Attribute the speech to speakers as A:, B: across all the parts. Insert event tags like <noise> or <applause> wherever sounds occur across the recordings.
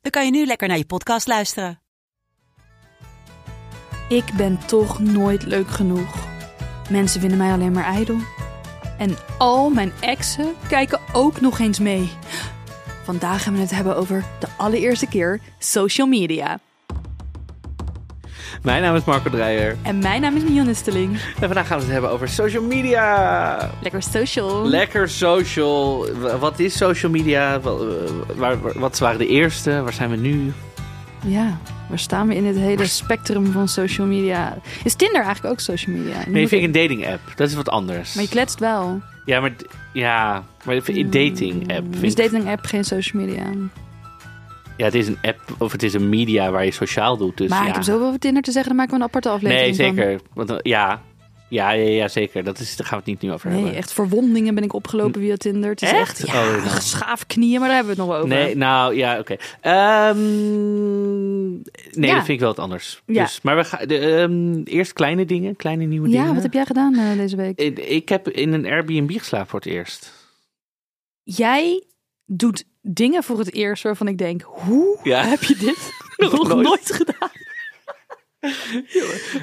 A: dan kan je nu lekker naar je podcast luisteren.
B: Ik ben toch nooit leuk genoeg. Mensen vinden mij alleen maar ijdel. En al mijn exen kijken ook nog eens mee. Vandaag gaan we het hebben over de allereerste keer social media.
C: Mijn naam is Marco Dreyer.
B: En mijn naam is Mion Nisteling.
C: En vandaag gaan we het hebben over social media.
B: Lekker social.
C: Lekker social. W- Wat is social media? Wa- eh, waar- waar- Wat waren de eerste? Waar zijn we nu?
B: ja, waar staan we in het hele spectrum van social media? Is Tinder eigenlijk ook social media? Nu
C: Nee,
B: moet
C: vind ik
B: ik-
C: een dating app. Dat is wat anders.
B: Maar je kletst wel.
C: Ja, maar, d- ja, maar ik vind- een dating app.
B: Is
C: Vind ik-
B: Dus dating app geen social media?
C: ja, het is een app of het is een media waar je sociaal doet. Dus
B: maar
C: ja.
B: ik heb zoveel over Tinder te zeggen, dan maken we een aparte aflevering
C: Nee,
B: van.
C: zeker. Want, dan- ja. Ja, ja, ja, zeker. Dat is, daar gaan we het niet nu over
B: Nee,
C: hebben. Hm.
B: echt verwondingen ben ik opgelopen via Tinder. Het is echt,
C: Echt?
B: ja,
C: Oh, ja.
B: schaafknieën, maar daar hebben we het nog wel over.
C: Nee, nou ja, oké. Ehm, nee,
B: Ja.
C: dat vind ik wel wat anders.
B: Ja.
C: Dus, maar we gaan de, ehm, eerst kleine dingen, kleine nieuwe dingen.
B: ja, wat heb jij gedaan eh, deze week?
C: Ik, ik heb in een Airbnb geslapen voor het eerst.
B: Jij doet dingen voor het eerst waarvan ik denk, hoe
C: Ja.
B: heb je
C: <laughs>
B: dit nog, nooit.
C: nooit.
B: gedaan?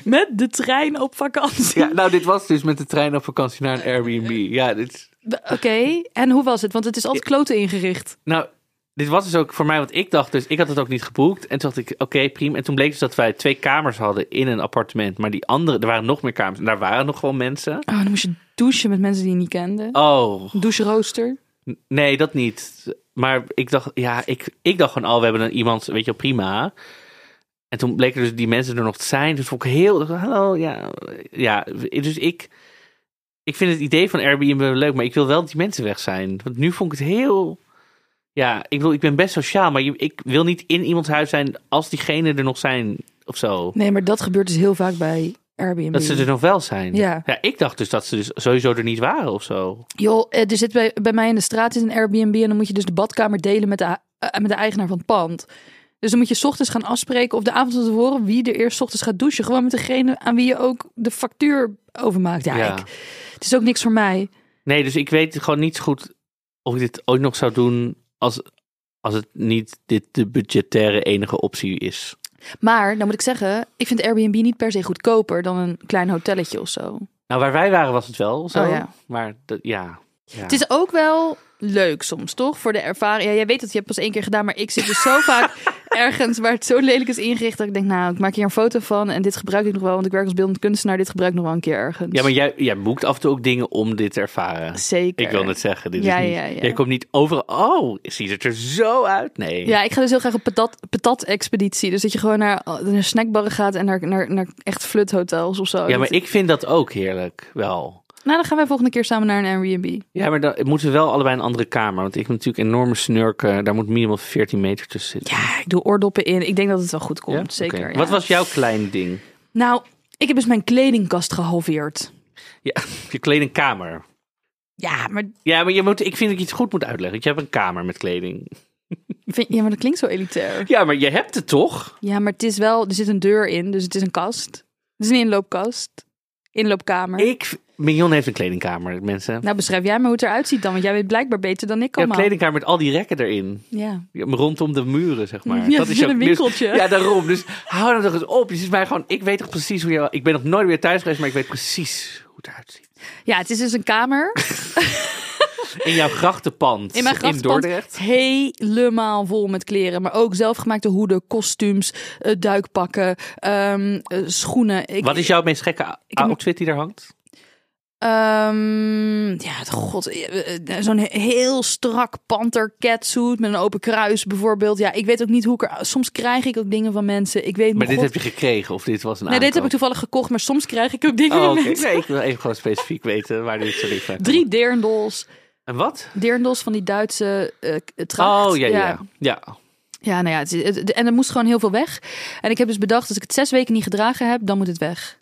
B: Met de trein op vakantie.
C: nou, dit was dus met de trein op vakantie naar een Airbnb. Ja, dit,
B: Oké, en hoe was het? Want het is altijd kloten ingericht.
C: nou, dit was dus ook voor mij wat ik dacht. Dus ik had het ook niet geboekt. En toen dacht ik, oké, prima. En toen bleek dus dat wij twee kamers hadden in een appartement. Maar die andere, er waren nog meer kamers. En daar waren nog gewoon mensen.
B: Oh, dan moest je douchen met mensen die je niet kende.
C: Oh,
B: Doucherooster.
C: N- Nee, dat niet. Maar ik dacht, ja, ik, ik dacht gewoon al, we hebben een iemand, weet je wel, prima. En toen bleken dus die mensen er nog te zijn. Dus vond ik heel, hallo, ja. Ja, dus ik, ik vind het idee van Airbnb leuk, maar ik wil wel dat die mensen weg zijn. Want nu vond ik het heel, ja, ik bedoel, ik ben best sociaal, maar je- ik wil niet in iemands huis zijn als diegenen er nog zijn of zo.
B: Nee, maar dat gebeurt dus heel vaak bij Airbnb.
C: Dat ze er nog wel zijn.
B: Ja.
C: ja, ik dacht dus dat ze dus sowieso er niet waren of zo.
B: Joh, eh, er zit bij, bij mij in de straat zit een Airbnb en dan moet je dus de badkamer delen met de, ha- eh, met de eigenaar van het pand. Dus dan moet je 's ochtends gaan afspreken of de avond van tevoren wie er eerst 's ochtends gaat douchen. Gewoon met degene aan wie je ook de factuur overmaakt. Ja,
C: Ja.
B: ik- het is ook niks voor mij.
C: Nee, dus ik weet gewoon niet zo goed of ik dit ooit nog zou doen als, als het niet dit de budgettaire enige optie is.
B: Maar dan moet ik zeggen, ik vind Airbnb niet per se goedkoper dan een klein hotelletje of zo.
C: Nou, waar wij waren was het wel zo,
B: Oh ja.
C: maar dat, ja. ja.
B: Het is ook wel leuk soms, toch? Voor de ervaring. Ja, jij weet dat je hebt pas één keer gedaan, maar ik zit dus <laughs> zo vaak ergens waar het zo lelijk is ingericht dat ik denk, nou, ik maak hier een foto van en dit gebruik ik nog wel, want ik werk als beeldend kunstenaar, dit gebruik ik nog wel een keer ergens.
C: Ja, maar jij, jij boekt af en toe ook dingen om dit te ervaren.
B: zeker.
C: Ik wil net zeggen, dit
B: Ja,
C: is niet...
B: ja, ja.
C: Jij komt niet over... Oh, ziet het er zo uit? Nee.
B: Ja, ik ga dus heel graag op patat, patat-expeditie. Dus dat je gewoon naar, naar snackbarren gaat en naar, naar, naar echt fluthotels of zo.
C: Ja, maar
B: Dat-
C: ik vind dat ook heerlijk, wel.
B: Nou, dan gaan wij volgende keer samen naar een Airbnb.
C: Ja, maar dan moeten we wel allebei een andere kamer. Want ik heb natuurlijk een enorme snurken. Daar moet minimaal 14 meter tussen zitten.
B: Ja, ik doe oordoppen in. Ik denk dat het wel goed komt,
C: Ja?
B: zeker.
C: Oké.
B: ja.
C: Wat was jouw klein ding?
B: Nou, ik heb dus mijn kledingkast gehalveerd.
C: Ja, <laughs> je kledingkamer.
B: Ja, maar
C: Ja, maar je moet, ik vind dat je het goed moet uitleggen. Je hebt een kamer met kleding.
B: Vind- ja, maar dat klinkt zo elitair.
C: Ja, maar je hebt het toch?
B: Ja, maar het is wel, er zit een deur in, dus het is een kast. Het is een inloopkast. Inloopkamer.
C: Ik, Mignon heeft een kledingkamer, mensen.
B: Nou, beschrijf jij maar hoe het eruit ziet dan, want jij weet blijkbaar beter dan ik
C: Ja, een
B: allemaal.
C: kledingkamer met al die rekken erin.
B: ja.
C: Ja, Rondom de muren, zeg maar.
B: <laughs> Ja, het is
C: jouw-
B: een
C: dus-
B: winkeltje.
C: ja, daarom. Dus hou nou toch eens op. Je ziet mij gewoon, ik weet toch precies hoe je... Ik ben nog nooit weer thuis geweest, maar ik weet precies hoe het eruit ziet.
B: ja, het is dus een kamer
C: In jouw grachtenpand. <laughs>
B: in mijn
C: In
B: grafpand.
C: Dordrecht.
B: Helemaal vol met kleren, maar ook zelfgemaakte hoeden, kostuums, eh, duikpakken, ehm, eh, schoenen. Ik,
C: Wat is jouw meest gekke
B: heb-
C: outfit die daar hangt?
B: Ehm, ja, het- god. eh, eh, Zo'n he- heel strak panter catsuit met een open kruis bijvoorbeeld. Ja, ik weet ook niet hoe ik er... Soms krijg ik ook dingen van mensen. Ik weet
C: Maar
B: mijn
C: dit
B: god-
C: heb je gekregen of dit was een
B: Nee, dit heb ik
C: aankoop?
B: toevallig gekocht, maar soms krijg ik ook dingen
C: Oh,
B: van
C: oké.
B: mensen.
C: Nee, ik wil even gewoon specifiek weten waar dit zo ligt.
B: Drie deerndels.
C: En wat?
B: Deerndels van die Duitse eh tracht.
C: Oh, ja, ja. ja.
B: Ja, nou ja, het, is- het- en er moest gewoon heel veel weg. En ik heb dus bedacht, als ik het zes weken niet gedragen heb, dan moet het weg.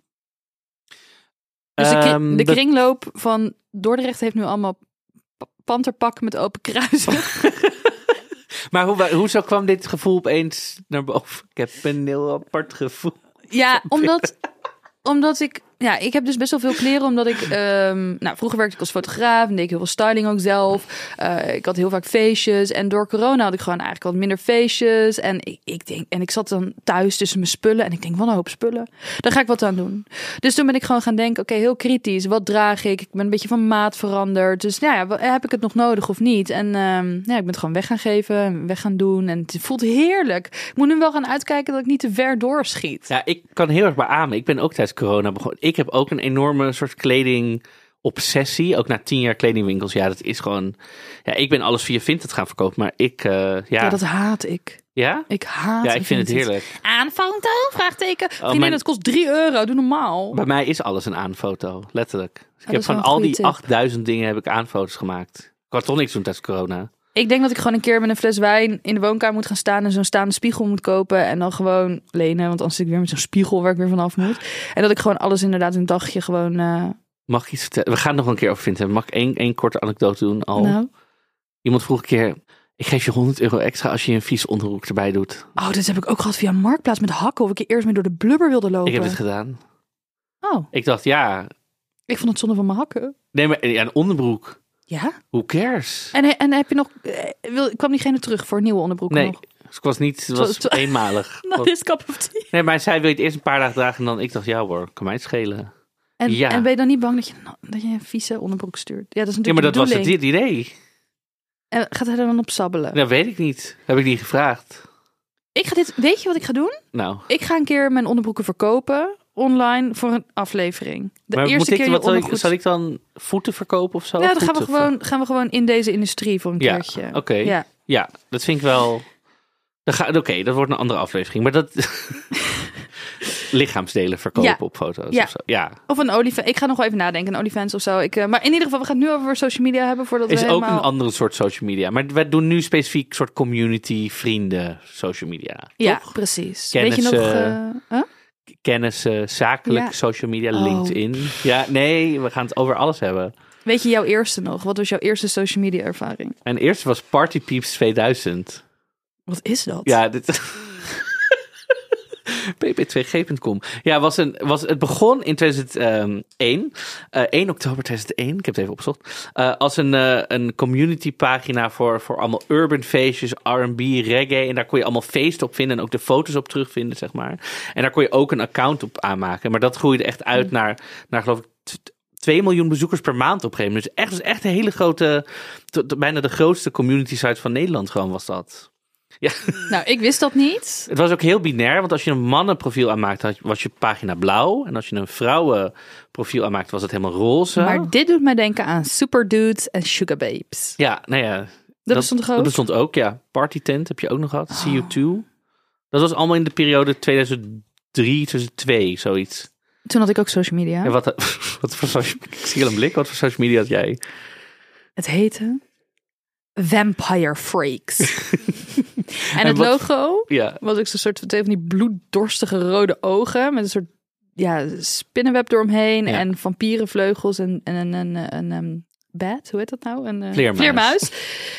B: Dus de, kri-
C: Ehm,
B: de
C: dat-
B: kringloop van Dordrecht heeft nu allemaal pa- panterpakken met open kruisen.
C: Maar hoe, hoezo kwam dit gevoel opeens naar boven? Ik heb een heel apart gevoel.
B: Ja, omdat, omdat ik. Ja, ik heb dus best wel veel kleren. Omdat ik. ehm, nou, vroeger werkte ik als fotograaf. En deed ik heel veel styling ook zelf. Eh, ik had heel vaak feestjes. En door corona had ik gewoon eigenlijk wat minder feestjes. En ik, ik denk. En ik zat dan thuis tussen mijn spullen. En ik denk, wat een hoop spullen. Daar ga ik wat aan doen. Dus toen ben ik gewoon gaan denken. Oké, heel kritisch. Wat draag ik? Ik ben een beetje van maat veranderd. Dus nou ja, wa- heb ik het nog nodig of niet? En ehm, ja, ik ben het gewoon weg gaan geven. en Weg gaan doen. En het voelt heerlijk. Ik moet nu wel gaan uitkijken dat ik niet te ver doorschiet.
C: Ja, ik kan heel erg beamen. Ik ben ook tijdens corona begonnen. Ik heb ook een enorme soort kleding obsessie. Ook na tien jaar kledingwinkels. Ja, dat is gewoon... Ja, ik ben alles via Vinted gaan verkopen. Maar ik... eh, ja?
B: Ja,
C: Ja,
B: dat haat ik. Ik haat
C: ja, ik vind het heerlijk. Oh,
B: Aanfoto? Vraagteken. Vriendin,
C: mijn-
B: dat kost 3 euro. Doe normaal.
C: Bij mij is alles een aanfoto, letterlijk. Dus ik
B: dat
C: heb
B: is wel
C: van
B: een
C: al
B: goede
C: die
B: tip.
C: 8000 dingen heb ik aanfoto's gemaakt. Ik had toch niks doen tijdens corona.
B: Ik denk dat ik gewoon een keer met een fles wijn in de woonkamer moet gaan staan en zo'n staande spiegel moet kopen en dan gewoon lenen, want anders zit ik weer met zo'n spiegel waar ik weer vanaf moet. En dat ik gewoon alles inderdaad in een dagje gewoon... eh,
C: Mag ik iets vertellen? We gaan het nog een keer over vinden. Mag ik één, één korte anekdote doen? Al
B: nou.
C: Iemand vroeg een keer, ik geef je 100 euro extra als je een vies onderhoek erbij doet.
B: Oh, dit heb ik ook gehad via Marktplaats met hakken of ik je eerst mee door de blubber wilde lopen.
C: Ik heb dit gedaan.
B: oh,
C: Ik dacht, ja,
B: ik vond het zonde van mijn hakken.
C: nee, maar ja, een onderbroek.
B: Ja?
C: Who cares?
B: En, en heb je nog... eh, wil, kwam diegene terug voor nieuwe onderbroeken
C: Nee,
B: <laughs> nog?
C: dus ik was niet, het
B: Het
C: was
B: was- <laughs>
C: eenmalig.
B: Nou,
C: Want-
B: dit is cup of tea.
C: nee, maar zij wil je het eerst een paar dagen dragen en dan ik dacht, ja hoor, kan mij het schelen.
B: En,
C: Ja.
B: en ben je dan niet bang dat je, dat je een vieze onderbroek stuurt? Ja, dat is
C: Ja,
B: natuurlijk
C: maar dat
B: de
C: was het
B: bedoeling.
C: idee.
B: En gaat hij er dan op sabbelen?
C: Dat weet ik niet. Heb ik niet gevraagd.
B: Ik ga dit, weet je wat ik ga doen?
C: Nou,
B: Ik ga een keer mijn onderbroeken verkopen online voor een aflevering. De
C: maar
B: eerste
C: moet
B: keer
C: ik,
B: je
C: wat zal, ik,
B: ondergoed-
C: zal ik dan voeten verkopen of zo?
B: Ja, dan gaan we,
C: Voeten ver-
B: gewoon, gaan we gewoon in deze industrie voor een
C: Ja,
B: keertje.
C: oké.
B: Ja.
C: Ja, dat vind ik wel... Dan ga- Oké, dat wordt een andere aflevering. Maar dat...
B: <laughs>
C: Lichaamsdelen verkopen
B: Ja.
C: op foto's
B: Ja.
C: of zo. Ja.
B: Of een olifant. Ik ga nog wel even nadenken. Een olifant of zo. Ik, eh, maar in ieder geval, we gaan het nu over social media hebben voordat
C: Is
B: we
C: ook
B: helemaal...
C: een andere soort social media. Maar wij doen nu specifiek soort community, vrienden, social media.
B: Ja,
C: Toch?
B: precies.
C: Kennis,
B: Weet je nog...
C: eh,
B: eh, huh?
C: Kennis, eh, zakelijk,
B: Ja.
C: social media,
B: Oh.
C: LinkedIn. Ja, nee, we gaan het over alles hebben.
B: Weet je jouw eerste nog? Wat was jouw eerste social media ervaring?
C: Mijn eerste was Party Peeps 2000.
B: Wat is dat?
C: Ja, dit... <laughs> pp2g.com. Ja, was een, was, het begon in 2001. eh, 1 oktober 2001, ik heb het even opgezocht. eh, als een, eh, een communitypagina voor, voor allemaal urban feestjes, R&B, reggae. En daar kon je allemaal feesten op vinden en ook de foto's op terugvinden, zeg maar. En daar kon je ook een account op aanmaken. Maar dat groeide echt uit naar, naar geloof ik... t- 2 miljoen bezoekers per maand op een gegeven moment. Dus echt, dus echt een hele grote, t- t- bijna de grootste community site van Nederland gewoon was dat.
B: Nou, ik wist dat niet.
C: Het was ook heel binair, want als je een mannenprofiel aanmaakte, had- was je pagina blauw. En als je een vrouwenprofiel aanmaakte, was het helemaal roze.
B: Maar dit doet mij denken aan Super Dudes en Sugar Babes.
C: Ja, nou ja. Dat,
B: bestond toch ook? Ah.
C: Dat bestond ook, ja. Party Tent heb je ook nog gehad. CU2. Dat was allemaal in de periode 2003, 2002, zoiets.
B: Toen had ik ook social media.
C: En wat, <laughs> wat voor social Ik zie al een blik. Wat voor social media had jij?
B: Het heette Vampire Freaks. en, het
C: wat-
B: logo
C: Ja.
B: was ook zo'n soort van twee van die bloeddorstige rode ogen met een soort ja, spinnenweb eromheen
C: Ja.
B: en vampierenvleugels en en en en, en, en ehm, bat, hoe heet dat nou? Een eh,
C: Vleermuis.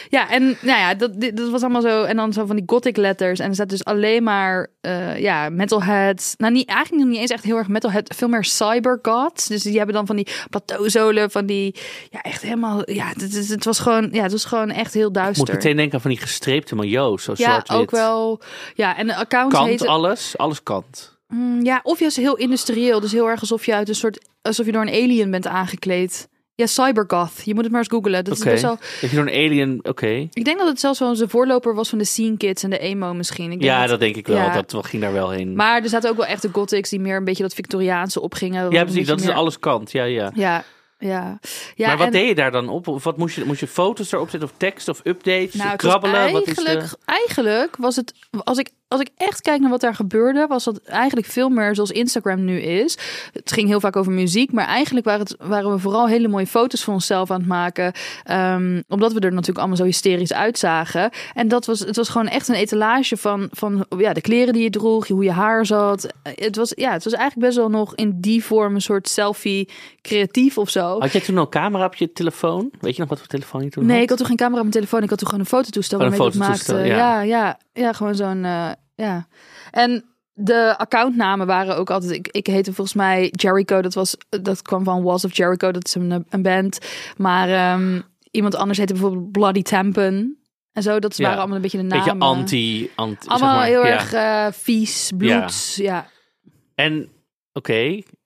B: Ja, en nou ja, dat, dit- dat was allemaal zo. En dan zo van die gothic letters. En er zat dus alleen maar eh ja, metalheads. Nou, niet, eigenlijk nog niet eens echt heel erg metalhead. Veel meer cybergods. Dus die hebben dan van die plateauzolen, van die... Ja, echt helemaal... Ja, het, het, het was, gewoon, ja, het was gewoon echt heel
C: Ik moet
B: duister.
C: meteen denken aan van die gestreepte maillots. Zo
B: ja,
C: zwart-wit.
B: ook wel. Ja, en de account
C: Kant
B: heette-
C: alles. Alles kant.
B: Mm, ja, of juist heel industrieel. Dus heel erg alsof je uit een soort... Alsof je door een alien bent aangekleed. Ja, cybergoth. Je moet het maar eens googlen. Dat
C: Oké.
B: is best wel...
C: Heb je door een alien... Oké.
B: Ik denk dat het zelfs wel eens de voorloper was van de Scene Kids en de emo misschien. Ik denk
C: Ja,
B: dat-
C: dat denk ik wel.
B: ja.
C: Dat ging daar wel heen.
B: Maar er zaten ook wel echt de gothics die meer een beetje dat Victoriaanse opgingen.
C: Ja,
B: Een
C: precies.
B: beetje
C: Dat is
B: meer-
C: alles kant. Ja, ja.
B: Ja, ja. ja
C: maar wat
B: en-
C: deed je daar dan op? Of wat moest je, moest je foto's erop zetten of tekst of updates?
B: nou, het was
C: krabbelen? Wat is
B: eigenlijk,
C: de...
B: eigenlijk was het, als ik als ik echt kijk naar wat daar gebeurde, was dat eigenlijk veel meer zoals Instagram nu is. Het ging heel vaak over muziek, maar eigenlijk waren, het, waren we vooral hele mooie foto's van onszelf aan het maken. Ehm, omdat we er natuurlijk allemaal zo hysterisch uitzagen. En dat was, het was gewoon echt een etalage van, van ja, de kleren die je droeg, hoe je haar zat. Het was, ja, het was eigenlijk best wel nog in die vorm een soort selfie creatief of zo.
C: Had jij toen al een camera op je telefoon? Weet je nog wat voor telefoon je toen
B: Nee, ik
C: had?
B: had toen geen camera op mijn telefoon. Ik had toen gewoon een fototoestel
C: Gewoon Oh, een
B: waarmee ik het maakte.
C: fototoestel,
B: Ja, ja, ja, gewoon zo'n... eh, ja. En de accountnamen waren ook altijd... Ik, ik heette volgens mij Jericho. Dat, was, dat kwam van Walls of Jericho. Dat is een, een band. Maar ehm, iemand anders heette bijvoorbeeld Bloody Tampen. En zo, dat
C: Ja.
B: waren allemaal een beetje de namen.
C: Beetje anti, anti
B: Allemaal
C: zeg maar.
B: heel
C: ja.
B: erg eh, vies, bloeds. Ja.
C: En, oké.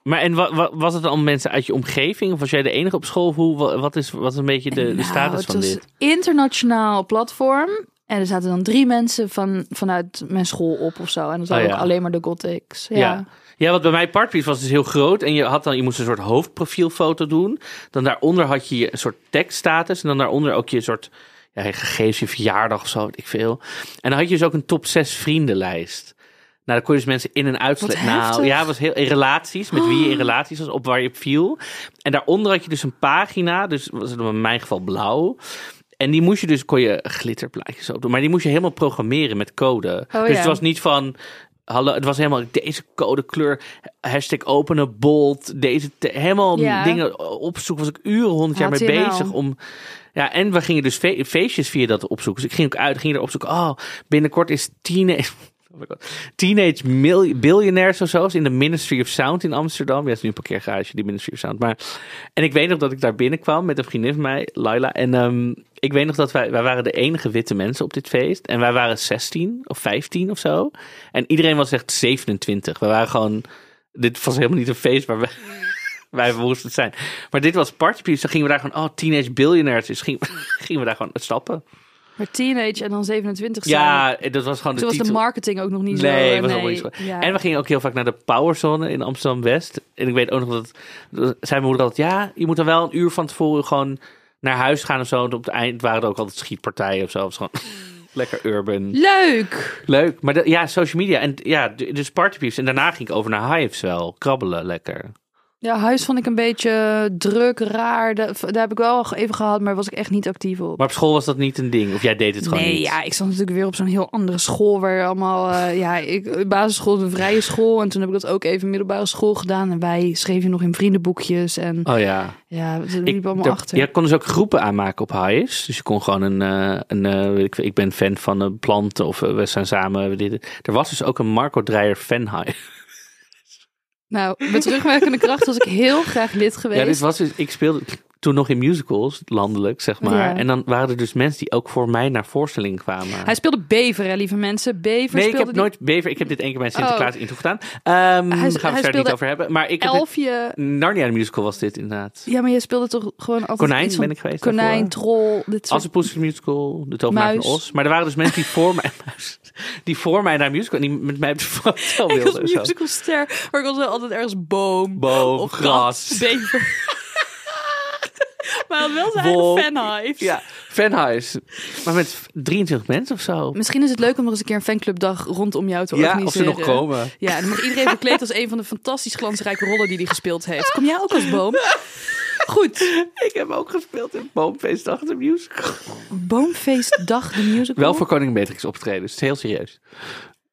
C: Maar en wa- wa- was het dan mensen uit je omgeving? Of was jij de enige op school? Of Hoe, wa- wat is wat is een beetje de, de
B: Nou,
C: status van
B: het was
C: dit?
B: internationaal platform. En er zaten dan drie mensen van, vanuit mijn school op of zo. En dat waren
C: Oh, ja.
B: ook alleen maar de gothics. Ja.
C: Ja. ja, want bij mij Partpiece was dus heel groot. En je, had dan, je moest een soort hoofdprofielfoto doen. Dan daaronder had je je een soort tekststatus. En dan daaronder ook je soort ja, je gegevens, je verjaardag of zo, weet ik veel. En dan had je dus ook een top 6 vriendenlijst. Nou, dan kon je dus mensen in en uitsluiten.
B: Wat
C: Nou,
B: heftig. Oh.
C: ja, het was heel in relaties, met wie je in relaties was, op waar je op viel. En daaronder had je dus een pagina, dus was het in mijn geval blauw. En die moest je dus, kon je glitterplaatjes op doen. Maar die moest je helemaal programmeren met code.
B: Oh,
C: dus
B: ja.
C: het was niet van, hallo, het was helemaal deze code kleur, hashtag openen, bold, deze, te- helemaal
B: Ja.
C: dingen opzoeken. Was ik uren, honderd jaar mee
B: HTML.
C: bezig om... Ja, en we gingen dus fe- feestjes via dat opzoeken. Dus ik ging ook uit, ging er opzoeken. Oh, binnenkort is teenage... <laughs> Oh my God. Teenage mil- Billionaires of zo. is in de Ministry of Sound in Amsterdam. Ja, het is nu een parkeergarage, die Ministry of Sound. Maar, en ik weet nog dat ik daar binnenkwam met een vriendin van mij, Laila. En ehm, ik weet nog dat wij, wij waren de enige witte mensen op dit feest. En wij waren 16 of 15 of zo. En iedereen was echt 27. We waren gewoon... Dit was helemaal niet een feest waar we wij moesten het zijn. Maar dit was partypiece. Dan gingen we daar gewoon, oh, teenage billionaires. Dus gingen, <laughs> gingen we daar gewoon stappen.
B: Maar teenage en dan 27 zijn.
C: Ja, dat was
B: Toen
C: gewoon de
B: was de
C: titel.
B: marketing ook nog niet zo.
C: Nee,
B: eh,
C: was allemaal niet zo.
B: Ja.
C: En we gingen ook heel vaak naar de Powerzone in Amsterdam-West. En ik weet ook nog dat, dat zei mijn moeder altijd... ja, je moet dan wel een uur van tevoren gewoon naar huis gaan of zo. En op het eind waren er ook altijd schietpartijen of zo. Het was gewoon <laughs> lekker urban.
B: Leuk!
C: Leuk. Maar dat- ja, social media. En ja, dus partypiece. En daarna ging ik over naar Hives wel. Krabbelen, lekker.
B: Ja, huis vond ik een beetje druk, raar. Da- Daar heb ik wel even gehad, maar was ik echt niet actief op.
C: Maar op school was dat niet een ding. Of jij deed het gewoon
B: nee,
C: niet.
B: ja, ik zat natuurlijk weer op zo'n heel andere school. Waar allemaal, eh, ja, ik, basisschool, de vrije school. En toen heb ik dat ook even middelbare school gedaan. En wij schreven nog in vriendenboekjes. En
C: Oh ja.
B: ja, ze
C: Ik-
B: liepen allemaal
C: dat-
B: achter.
C: Je kon dus ook groepen aanmaken op Hives. Dus je kon gewoon een, eh, een eh, weet ik, veel, ik ben fan van eh, planten of eh, we zijn samen. we dit- er was dus ook een Marco Dreyer fan Hive.
B: Nou, met terugwerkende kracht was ik
C: <laughs>
B: heel graag lid
C: Ja, dit
B: geweest.
C: was dus, ik speelde toen nog in musicals, landelijk zeg maar.
B: Ja.
C: En dan waren er dus mensen die ook voor mij naar voorstelling kwamen.
B: Hij speelde Bever, hè, lieve mensen. Bever
C: Nee, ik
B: speelde
C: heb
B: die Oh.
C: nooit Bever. Ik heb dit één keer bij Sinterklaas intro gedaan. Ehm,
B: Hij-
C: gaan we het
B: hij
C: verder niet
B: speelde
C: over hebben. Maar ik heb dit,
B: elfje.
C: Narnia de musical was dit inderdaad.
B: Ja, maar je speelde toch gewoon altijd
C: Konijn
B: iets van
C: ben ik geweest
B: Konijn,
C: daarvoor.
B: troll, dit soort...
C: Assepoester musical, de tovenaar van
B: Muis.
C: Os. Maar er waren dus mensen die voor mij, <laughs> die voor mij naar musical en die met mij op de foto
B: Ik <laughs>
C: wilden.
B: was
C: en zo.
B: musicalster, maar ik was wel altijd ergens boom.
C: Boom,
B: of
C: gras.
B: kat, bever.
C: <laughs>
B: maar hij had wel zijn
C: Wolk.
B: eigen fanhives.
C: Ja, fanhuis. Maar met 23 mensen of zo.
B: Misschien is het leuk om nog eens een keer een fanclubdag rondom jou te
C: Ja,
B: organiseren.
C: of ze nog komen.
B: Ja, en dan mag iedereen verkleed als een van de fantastisch glansrijke rollen die hij gespeeld heeft. Kom jij ook als
C: <laughs>
B: boom? Goed.
C: <laughs> Ik heb ook gespeeld in Boomfeestdag de musical.
B: Boomfeestdag, de musical.
C: Wel voor Koning Beatrix optreden, dus het is heel serieus.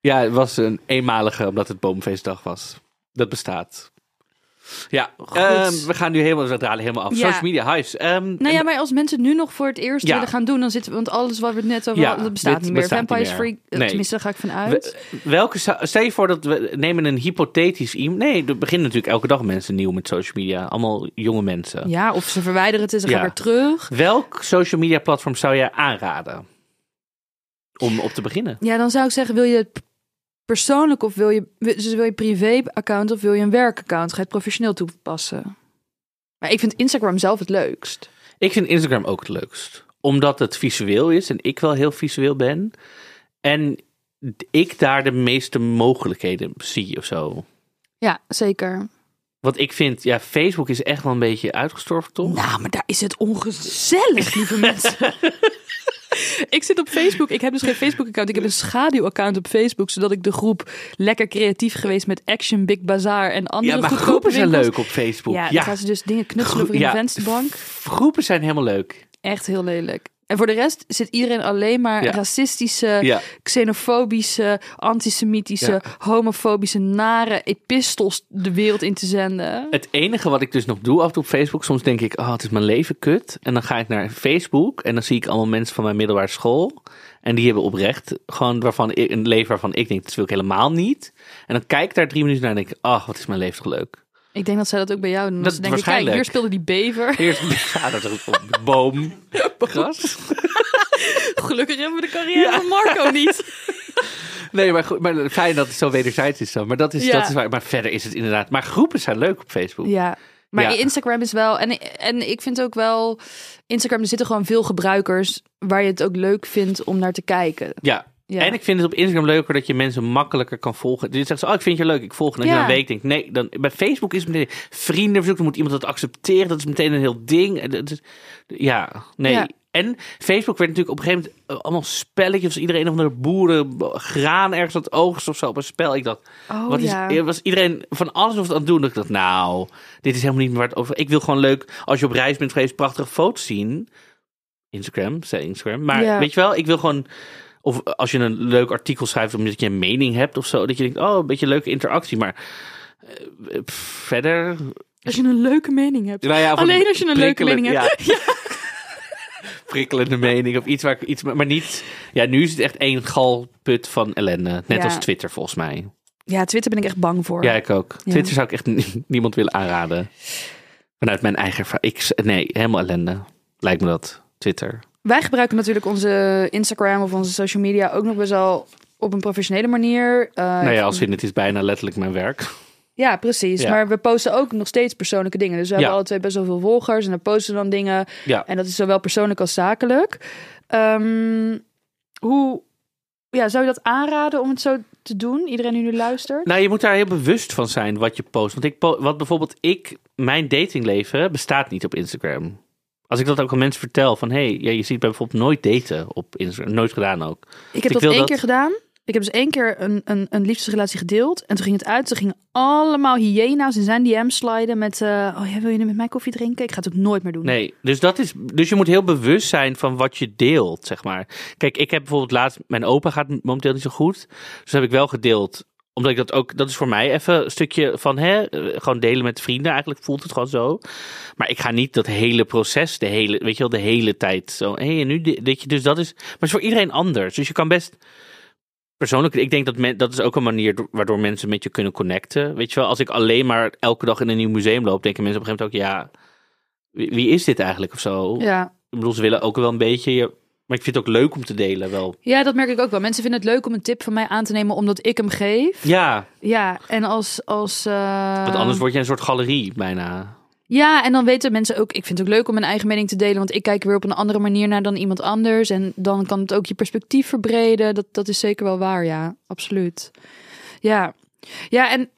C: Ja, het was een eenmalige, omdat het Boomfeestdag was. Dat bestaat. Ja, ehm, we gaan nu helemaal, we dralen helemaal af.
B: Ja.
C: Social media, huis. Ehm,
B: Nou ja, maar als mensen het nu nog voor het eerst
C: Ja.
B: willen gaan doen, dan zitten we, want alles wat we het net over
C: Ja,
B: hadden, dat bestaat
C: dit
B: niet meer.
C: bestaat niet
B: Vampires
C: meer.
B: Freak, eh,
C: Nee.
B: tenminste, daar ga ik van uit.
C: We- welke zou- stel je voor dat we nemen een hypothetisch iemand. Nee, er beginnen natuurlijk elke dag mensen nieuw met social media. Allemaal jonge mensen.
B: Ja, of ze verwijderen het en ze
C: Ja.
B: gaan weer terug.
C: Welk social media platform zou jij aanraden om op te beginnen?
B: Ja, dan zou ik zeggen, wil je het persoonlijk of wil je, dus wil je privé-account of wil je een werkaccount? Ga je het professioneel toepassen? Maar ik vind Instagram zelf het leukst.
C: Ik vind Instagram ook het leukst, omdat het visueel is en ik wel heel visueel ben. En ik daar de meeste mogelijkheden zie of zo.
B: Ja, zeker.
C: Want ik vind, ja, Facebook is echt wel een beetje uitgestorven, toch?
B: Nou, maar daar is het ongezellig, lieve mensen. <laughs> ik zit op Facebook. Ik heb dus geen Facebook-account. Ik heb een schaduw-account op Facebook. Zodat ik de groep lekker creatief geweest met Action, Big Bazaar en andere
C: ja, maar
B: goedkope
C: groepen zijn
B: winkels.
C: leuk op Facebook.
B: Ja,
C: Ja,
B: dan gaan ze dus dingen knutselen
C: Groe-
B: voor in
C: ja.
B: de vensterbank.
C: groepen zijn helemaal leuk.
B: Echt heel lelijk. En voor de rest zit iedereen alleen maar
C: Ja.
B: racistische,
C: Ja.
B: xenofobische, antisemitische,
C: Ja.
B: homofobische, nare epistels de wereld in te zenden.
C: Het enige wat ik dus nog doe af en toe op Facebook, soms denk ik, oh, het is mijn leven kut. En dan ga ik naar Facebook en dan zie ik allemaal mensen van mijn middelbare school. En die hebben oprecht gewoon waarvan ik, een leven waarvan ik denk, dat wil ik helemaal niet. En dan kijk ik daar drie minuten naar en denk ik, ach, wat is mijn leven toch leuk.
B: Ik denk dat zij dat ook bij jou doen. Dat
C: Dat
B: ze denken, kijk,
C: waarschijnlijk.
B: hier speelde die bever.
C: Eerst <laughs> ja, dat is een
B: <laughs>
C: boom, gras.
B: Gelukkig hebben we de carrière van Marco niet.
C: Nee, maar, goed, maar fijn dat het zo wederzijds is dan. Maar, dat is,
B: Ja.
C: dat is waar, maar verder is het inderdaad. Maar groepen zijn leuk op Facebook.
B: <laughs> Ja. Maar
C: Ja.
B: Instagram is wel... En, en ik vind ook wel... Instagram, er zitten gewoon veel gebruikers... waar je het ook leuk vindt om naar te kijken.
C: Ja.
B: Ja.
C: En ik vind het op Instagram leuker dat je mensen makkelijker kan volgen. Dus je zegt zo, oh, ik vind je leuk, ik volg. En als
B: Ja.
C: je na een week denkt, nee, dan, bij Facebook is het meteen vriendenverzoek. Dan moet iemand dat accepteren. Dat is meteen een heel ding. En dat is- ja, nee.
B: Ja.
C: En Facebook werd natuurlijk op een gegeven moment eh, allemaal spelletjes. Als iedereen of de boeren b- graan ergens aan het oogst of zo op een spel. Ik dacht,
B: Oh,
C: wat is,
B: ja.
C: eh, was iedereen van alles of aan het doen? Dat ik dacht, nou, dit is helemaal niet meer waar het over... Ik wil gewoon leuk, als je op reis bent geweest, prachtige foto's zien. Instagram, zei Instagram. Maar
B: Ja.
C: weet je wel, ik wil gewoon... Of als je een leuk artikel schrijft omdat je een mening hebt of zo. Dat je denkt, oh, een beetje leuke interactie. Maar eh, pff, verder...
B: Als je een leuke mening hebt.
C: Nou ja, of
B: Alleen als je een leuke
C: prikkelend-
B: mening hebt. <laughs> Ja.
C: prikkelende mening of iets waar ik iets... Maar niet... Ja, nu is het echt één galput van ellende. Net
B: Ja.
C: als Twitter, volgens mij.
B: Ja, Twitter ben ik echt bang voor.
C: Ja, ik ook.
B: Ja.
C: Twitter zou ik echt <laughs> nie- niemand willen aanraden. Vanuit mijn eigen ervaring. Ik- Nee, helemaal ellende. Lijkt me dat. Twitter.
B: Wij gebruiken natuurlijk onze Instagram of onze social media ook nog best wel op een professionele manier. Eh,
C: nou ja, als in het is bijna letterlijk mijn werk. <laughs>
B: Ja, precies.
C: Ja.
B: Maar we posten ook nog steeds persoonlijke dingen. Dus we hebben
C: Ja.
B: alle twee best wel veel volgers en dan posten we dan dingen.
C: Ja.
B: En dat is zowel persoonlijk als zakelijk. Ehm, hoe ja, zou je dat aanraden om het zo te doen? Iedereen die nu luistert?
C: Nou, je moet daar heel bewust van zijn wat je post. Want ik po- wat bijvoorbeeld ik, mijn datingleven bestaat niet op Instagram. Als ik dat ook aan mensen vertel van, hé, hey, ja, je ziet mij bijvoorbeeld nooit daten op Instagram. Nooit gedaan ook.
B: Ik
C: Ik
B: heb dat
C: wil
B: één
C: dat-
B: keer gedaan. Ik heb dus één keer een, een, een liefdesrelatie gedeeld. En toen ging het uit. Toen gingen allemaal hyena's in zijn DM sliden met... eh, oh ja, wil je nu met mij koffie drinken? Ik ga het ook nooit meer doen.
C: Nee, dus, dat is, dus je moet heel bewust zijn van wat je deelt, zeg maar. Kijk, ik heb bijvoorbeeld laatst... Mijn opa gaat momenteel niet zo goed. Dus heb ik wel gedeeld. Omdat ik dat ook... Dat is voor mij even een stukje van... Hè, eh, gewoon delen met vrienden. Eigenlijk voelt het gewoon zo. Maar ik ga niet dat hele proces... De hele, weet je wel, de hele tijd zo... Hé, en nu dit. dit je, Dus dat is... Maar het is voor iedereen anders. Dus je kan best... Persoonlijk, ik denk dat men, dat is ook een manier do- waardoor mensen met je kunnen connecten. Weet je wel, als ik alleen maar elke dag in een nieuw museum loop, denken mensen op een gegeven moment ook, ja, wie, wie is dit eigenlijk of zo?
B: Ja.
C: Ik bedoel, ze willen ook wel een beetje. je- Maar ik vind het ook leuk om te delen, wel.
B: ja, dat merk ik ook wel. Mensen vinden het leuk om een tip van mij aan te nemen omdat ik hem geef.
C: Ja,
B: Ja, en als... als eh,
C: want anders word je een soort galerie bijna.
B: Ja, en dan weten mensen ook... Ik vind het ook leuk om mijn eigen mening te delen. Want ik kijk weer op een andere manier naar dan iemand anders. En dan kan het ook je perspectief verbreden. Dat, dat is zeker wel waar, ja. Absoluut. Ja. Ja, en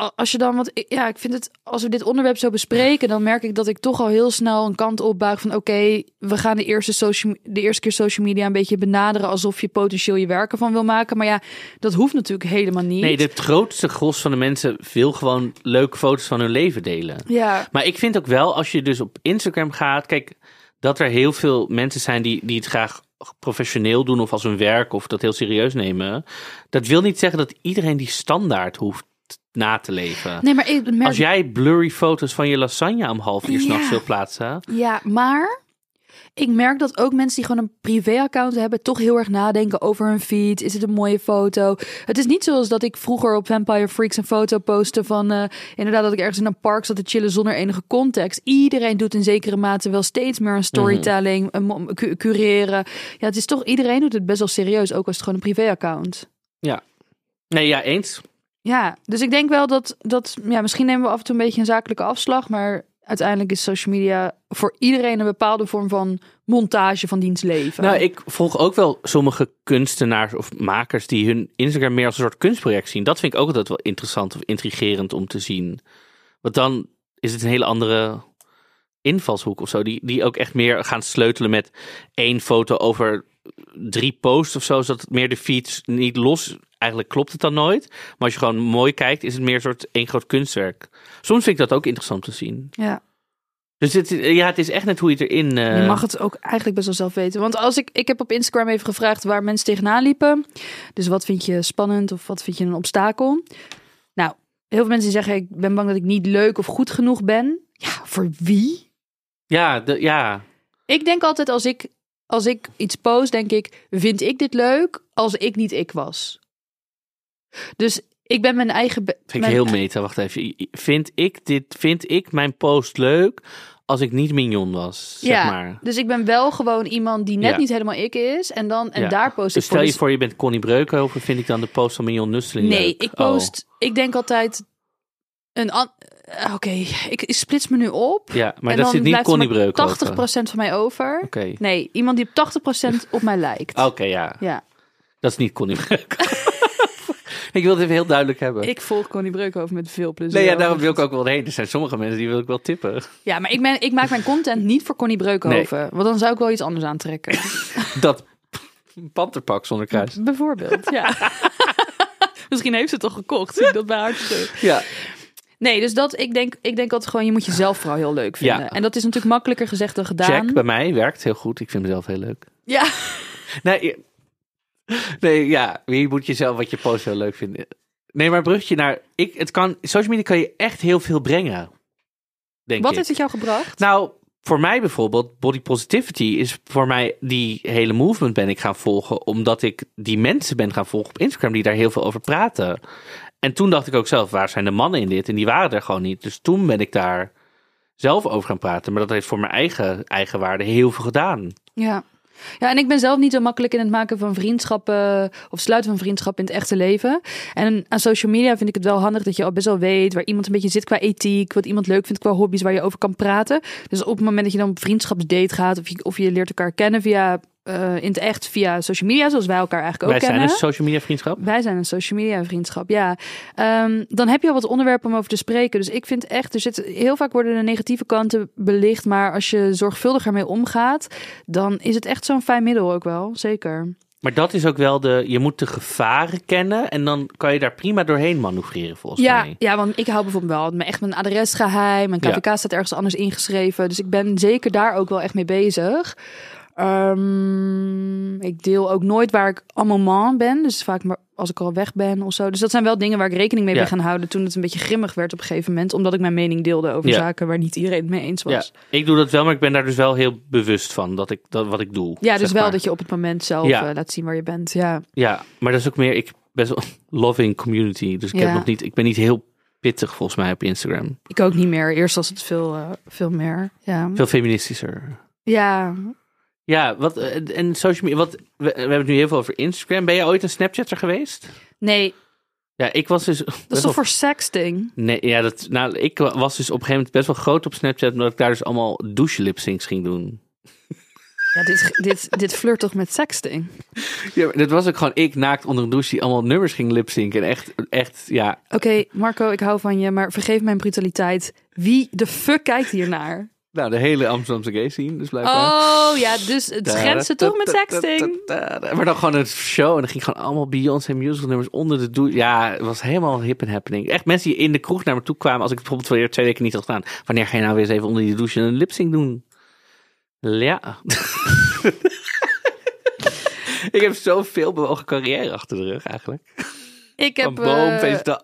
B: a- als je dan... Want ik- ja, ik vind het... Als we dit onderwerp zo bespreken... dan merk ik dat ik toch al heel snel een kant opbuig van... oké, we gaan de eerste, social, de eerste keer social media een beetje benaderen... alsof je potentieel je werken van wil maken. Maar ja, dat hoeft natuurlijk helemaal niet.
C: Nee, het grootste gros van de mensen wil gewoon leuke foto's van hun leven delen.
B: Ja,
C: Maar ik vind ook wel, als je dus op Instagram gaat, kijk, dat er heel veel mensen zijn die, die het graag professioneel doen of als hun werk of dat heel serieus nemen. Dat wil niet zeggen dat iedereen die standaard hoeft na te leven.
B: nee, maar ik merk
C: Als jij blurry foto's van je lasagne om half uur s'nachts
B: Ja.
C: wil plaatsen.
B: Ja, maar ik merk dat ook mensen die gewoon een privé-account hebben, toch heel erg nadenken over hun feed. Is het een mooie foto? Het is niet zoals dat ik vroeger op Vampire Freaks een foto postte van eh, inderdaad dat ik ergens in een park zat te chillen zonder enige context. Iedereen doet in zekere mate wel steeds meer een storytelling, een mo- cu- cureren. Ja, het is toch iedereen doet het best wel serieus, ook als het gewoon een privé-account.
C: Ja. Nee, ja, eens.
B: Ja, dus ik denk wel dat dat ja, misschien nemen we af en toe een beetje een zakelijke afslag, maar uiteindelijk is social media voor iedereen een bepaalde vorm van montage van diens leven.
C: Nou, ik volg ook wel sommige kunstenaars of makers die hun Instagram meer als een soort kunstproject zien. Dat vind ik ook altijd wel interessant of intrigerend om te zien. Want dan is het een hele andere invalshoek of zo. Die, die ook echt meer gaan sleutelen met één foto over drie posts of zo. Zodat het meer de feeds niet los. Eigenlijk klopt het dan nooit. Maar als je gewoon mooi kijkt, is het meer een soort één groot kunstwerk. Soms vind ik dat ook interessant te zien.
B: Ja.
C: Dus het, ja, het is echt net hoe je het erin. eh,
B: Je mag het ook eigenlijk best wel zelf weten. Want als ik, ik heb op Instagram even gevraagd waar mensen tegenaan liepen. Dus wat vind je spannend of wat vind je een obstakel? Nou, heel veel mensen die zeggen ik ben bang dat ik niet leuk of goed genoeg ben. Ja, voor wie?
C: Ja, de, ja.
B: Ik denk altijd als ik, als ik iets post, denk ik, vind ik dit leuk als ik niet ik was? Dus ik ben mijn eigen... be-
C: Vind ik
B: mijn-
C: heel meta. Wacht even. Vind ik dit, vind ik mijn post leuk als ik niet mignon was? Zeg
B: ja,
C: maar.
B: dus ik ben wel gewoon iemand die net
C: Ja.
B: niet helemaal ik is. En, dan, en
C: Ja.
B: daar post ik
C: Dus stel
B: voor.
C: je
B: Dus-
C: voor, je bent Connie Breukhoven, vind ik dan de post van Mignon Nusseling
B: Nee,
C: leuk?
B: ik
C: Oh.
B: post. Ik denk altijd een. an- eh, Oké, ik, ik splits me nu op.
C: Oh. Ja, maar
B: en
C: dat
B: dan
C: zit niet
B: blijft er
C: Connie
B: maar
C: Breukhoven.
B: 80% van mij over.
C: Oké, Oh.
B: Nee, iemand die op 80% op mij lijkt.
C: Oké, ja.
B: Ja,
C: Dat is niet Connie Breukhoven. <laughs> ik wil het even heel duidelijk hebben.
B: ik volg Connie Breukhoven met veel plezier.
C: nee, ja, daarom wil ik ook wel heen. Er zijn sommige mensen die wil ik wel tippen. <laughs>
B: Ja, maar ik, ben, ik maak mijn content niet voor Connie Breukhoven. Want dan zou ik wel iets anders aantrekken.
C: Dat <laughs> panterpak zonder kruis.
B: Bijvoorbeeld, ja. <laughs> Misschien heeft ze het al gekocht. Zie ik dat bij haar terug.
C: Ja.
B: Nee, dus dat, ik denk, ik denk altijd gewoon, je moet jezelf vooral heel leuk vinden.
C: Ja.
B: En dat is natuurlijk makkelijker gezegd dan gedaan.
C: Check bij mij werkt heel goed. Ik vind mezelf heel leuk.
B: Ja.
C: Nee, je- nee, ja, je moet jezelf wat je post heel leuk vinden. Nee, maar brugje naar ik, het kan, social media kan je echt heel veel brengen. Denk
B: Wat
C: ik.
B: heeft het jou gebracht?
C: Nou, voor mij bijvoorbeeld, body positivity is voor mij die hele movement ben ik gaan volgen. Omdat ik die mensen ben gaan volgen op Instagram die daar heel veel over praten. En toen dacht ik ook zelf, waar zijn de mannen in dit? En die waren er gewoon niet. Dus toen ben ik daar zelf over gaan praten. Maar dat heeft voor mijn eigen, eigen waarde heel veel gedaan.
B: Ja. Ja, en ik ben zelf niet zo makkelijk in het maken van vriendschappen eh, of sluiten van vriendschappen in het echte leven. En aan social media vind ik het wel handig dat je al best wel weet waar iemand een beetje zit qua ethiek, wat iemand leuk vindt qua hobby's, waar je over kan praten. Dus op het moment dat je dan op vriendschapsdate gaat of je, of je leert elkaar kennen via, eh, in het echt via social media, zoals wij elkaar eigenlijk
C: Wij
B: ook kennen.
C: zijn een social media vriendschap.
B: Wij zijn een social media vriendschap, ja. Ehm, dan heb je al wat onderwerpen om over te spreken. Dus ik vind echt, er zit, heel vaak worden de negatieve kanten belicht. Maar als je zorgvuldiger mee omgaat, dan is het echt zo'n fijn middel ook wel. Zeker.
C: Maar dat is ook wel de. Je moet de gevaren kennen. En dan kan je daar prima doorheen manoeuvreren, volgens
B: Ja,
C: mij.
B: ja, want ik hou bijvoorbeeld wel mijn- echt mijn adres geheim. Mijn
C: Ja.
B: KVK staat ergens anders ingeschreven. Dus ik ben zeker daar ook wel echt mee bezig. Ehm, ik deel ook nooit waar ik en moment ben. Dus vaak maar als ik al weg ben of zo. Dus dat zijn wel dingen waar ik rekening mee
C: Ja.
B: ben gaan houden. Toen het een beetje grimmig werd op een gegeven moment. Omdat ik mijn mening deelde over
C: Ja.
B: zaken waar niet iedereen het mee eens
C: Ja,
B: was. Ja,
C: ik doe dat wel, maar ik ben daar dus wel heel bewust van dat ik dat wat ik doe.
B: dus
C: zeg
B: wel
C: maar.
B: dat je op het moment zelf
C: Ja.
B: eh, laat zien waar je bent. Ja,
C: Ja, maar dat is ook meer. Ik best wel <laughs> loving community. Dus ik
B: Ja.
C: heb nog niet. Ik ben niet heel pittig volgens mij op Instagram.
B: ik ook niet meer. Eerst was het veel, eh, veel meer. Ja,
C: Veel feministischer.
B: ja.
C: Ja, wat eh, en social media. Wat we, we hebben het nu heel veel over Instagram. Ben jij ooit een Snapchatter geweest?
B: nee,
C: Ja, ik was dus.
B: dat is toch voor sexting?
C: Nee, ja, dat, nou, ik wa- was dus op een gegeven moment best wel groot op Snapchat, omdat ik daar dus allemaal douche lipsyncs ging doen.
B: Ja, dit, dit, dit flirt toch met sexting?
C: Ja, maar dat was ook gewoon ik naakt onder een douche die allemaal nummers ging lipzinken. En echt, echt, ja.
B: Oké, Marco, ik hou van je, maar vergeef mijn brutaliteit. Wie de fuck kijkt hiernaar?
C: Nou, de hele Amsterdamse gay scene, dus blijkbaar.
B: Oh ja, dus het grenzen toch met sexting?
C: Maar dan gewoon een show en dan ging gewoon allemaal Beyoncé musical nummers onder de douche. Ja, het was helemaal hip en happening. Echt mensen die in de kroeg naar me toe kwamen als ik het bijvoorbeeld weer twee weken niet had gedaan. Wanneer ga je nou weer eens even onder die douche een lipsync doen? Ja. <laughs> ik heb zoveel bewogen carrière achter de rug eigenlijk.
B: Ik
C: Van
B: heb,
C: boom,
B: eh,
C: feestdag.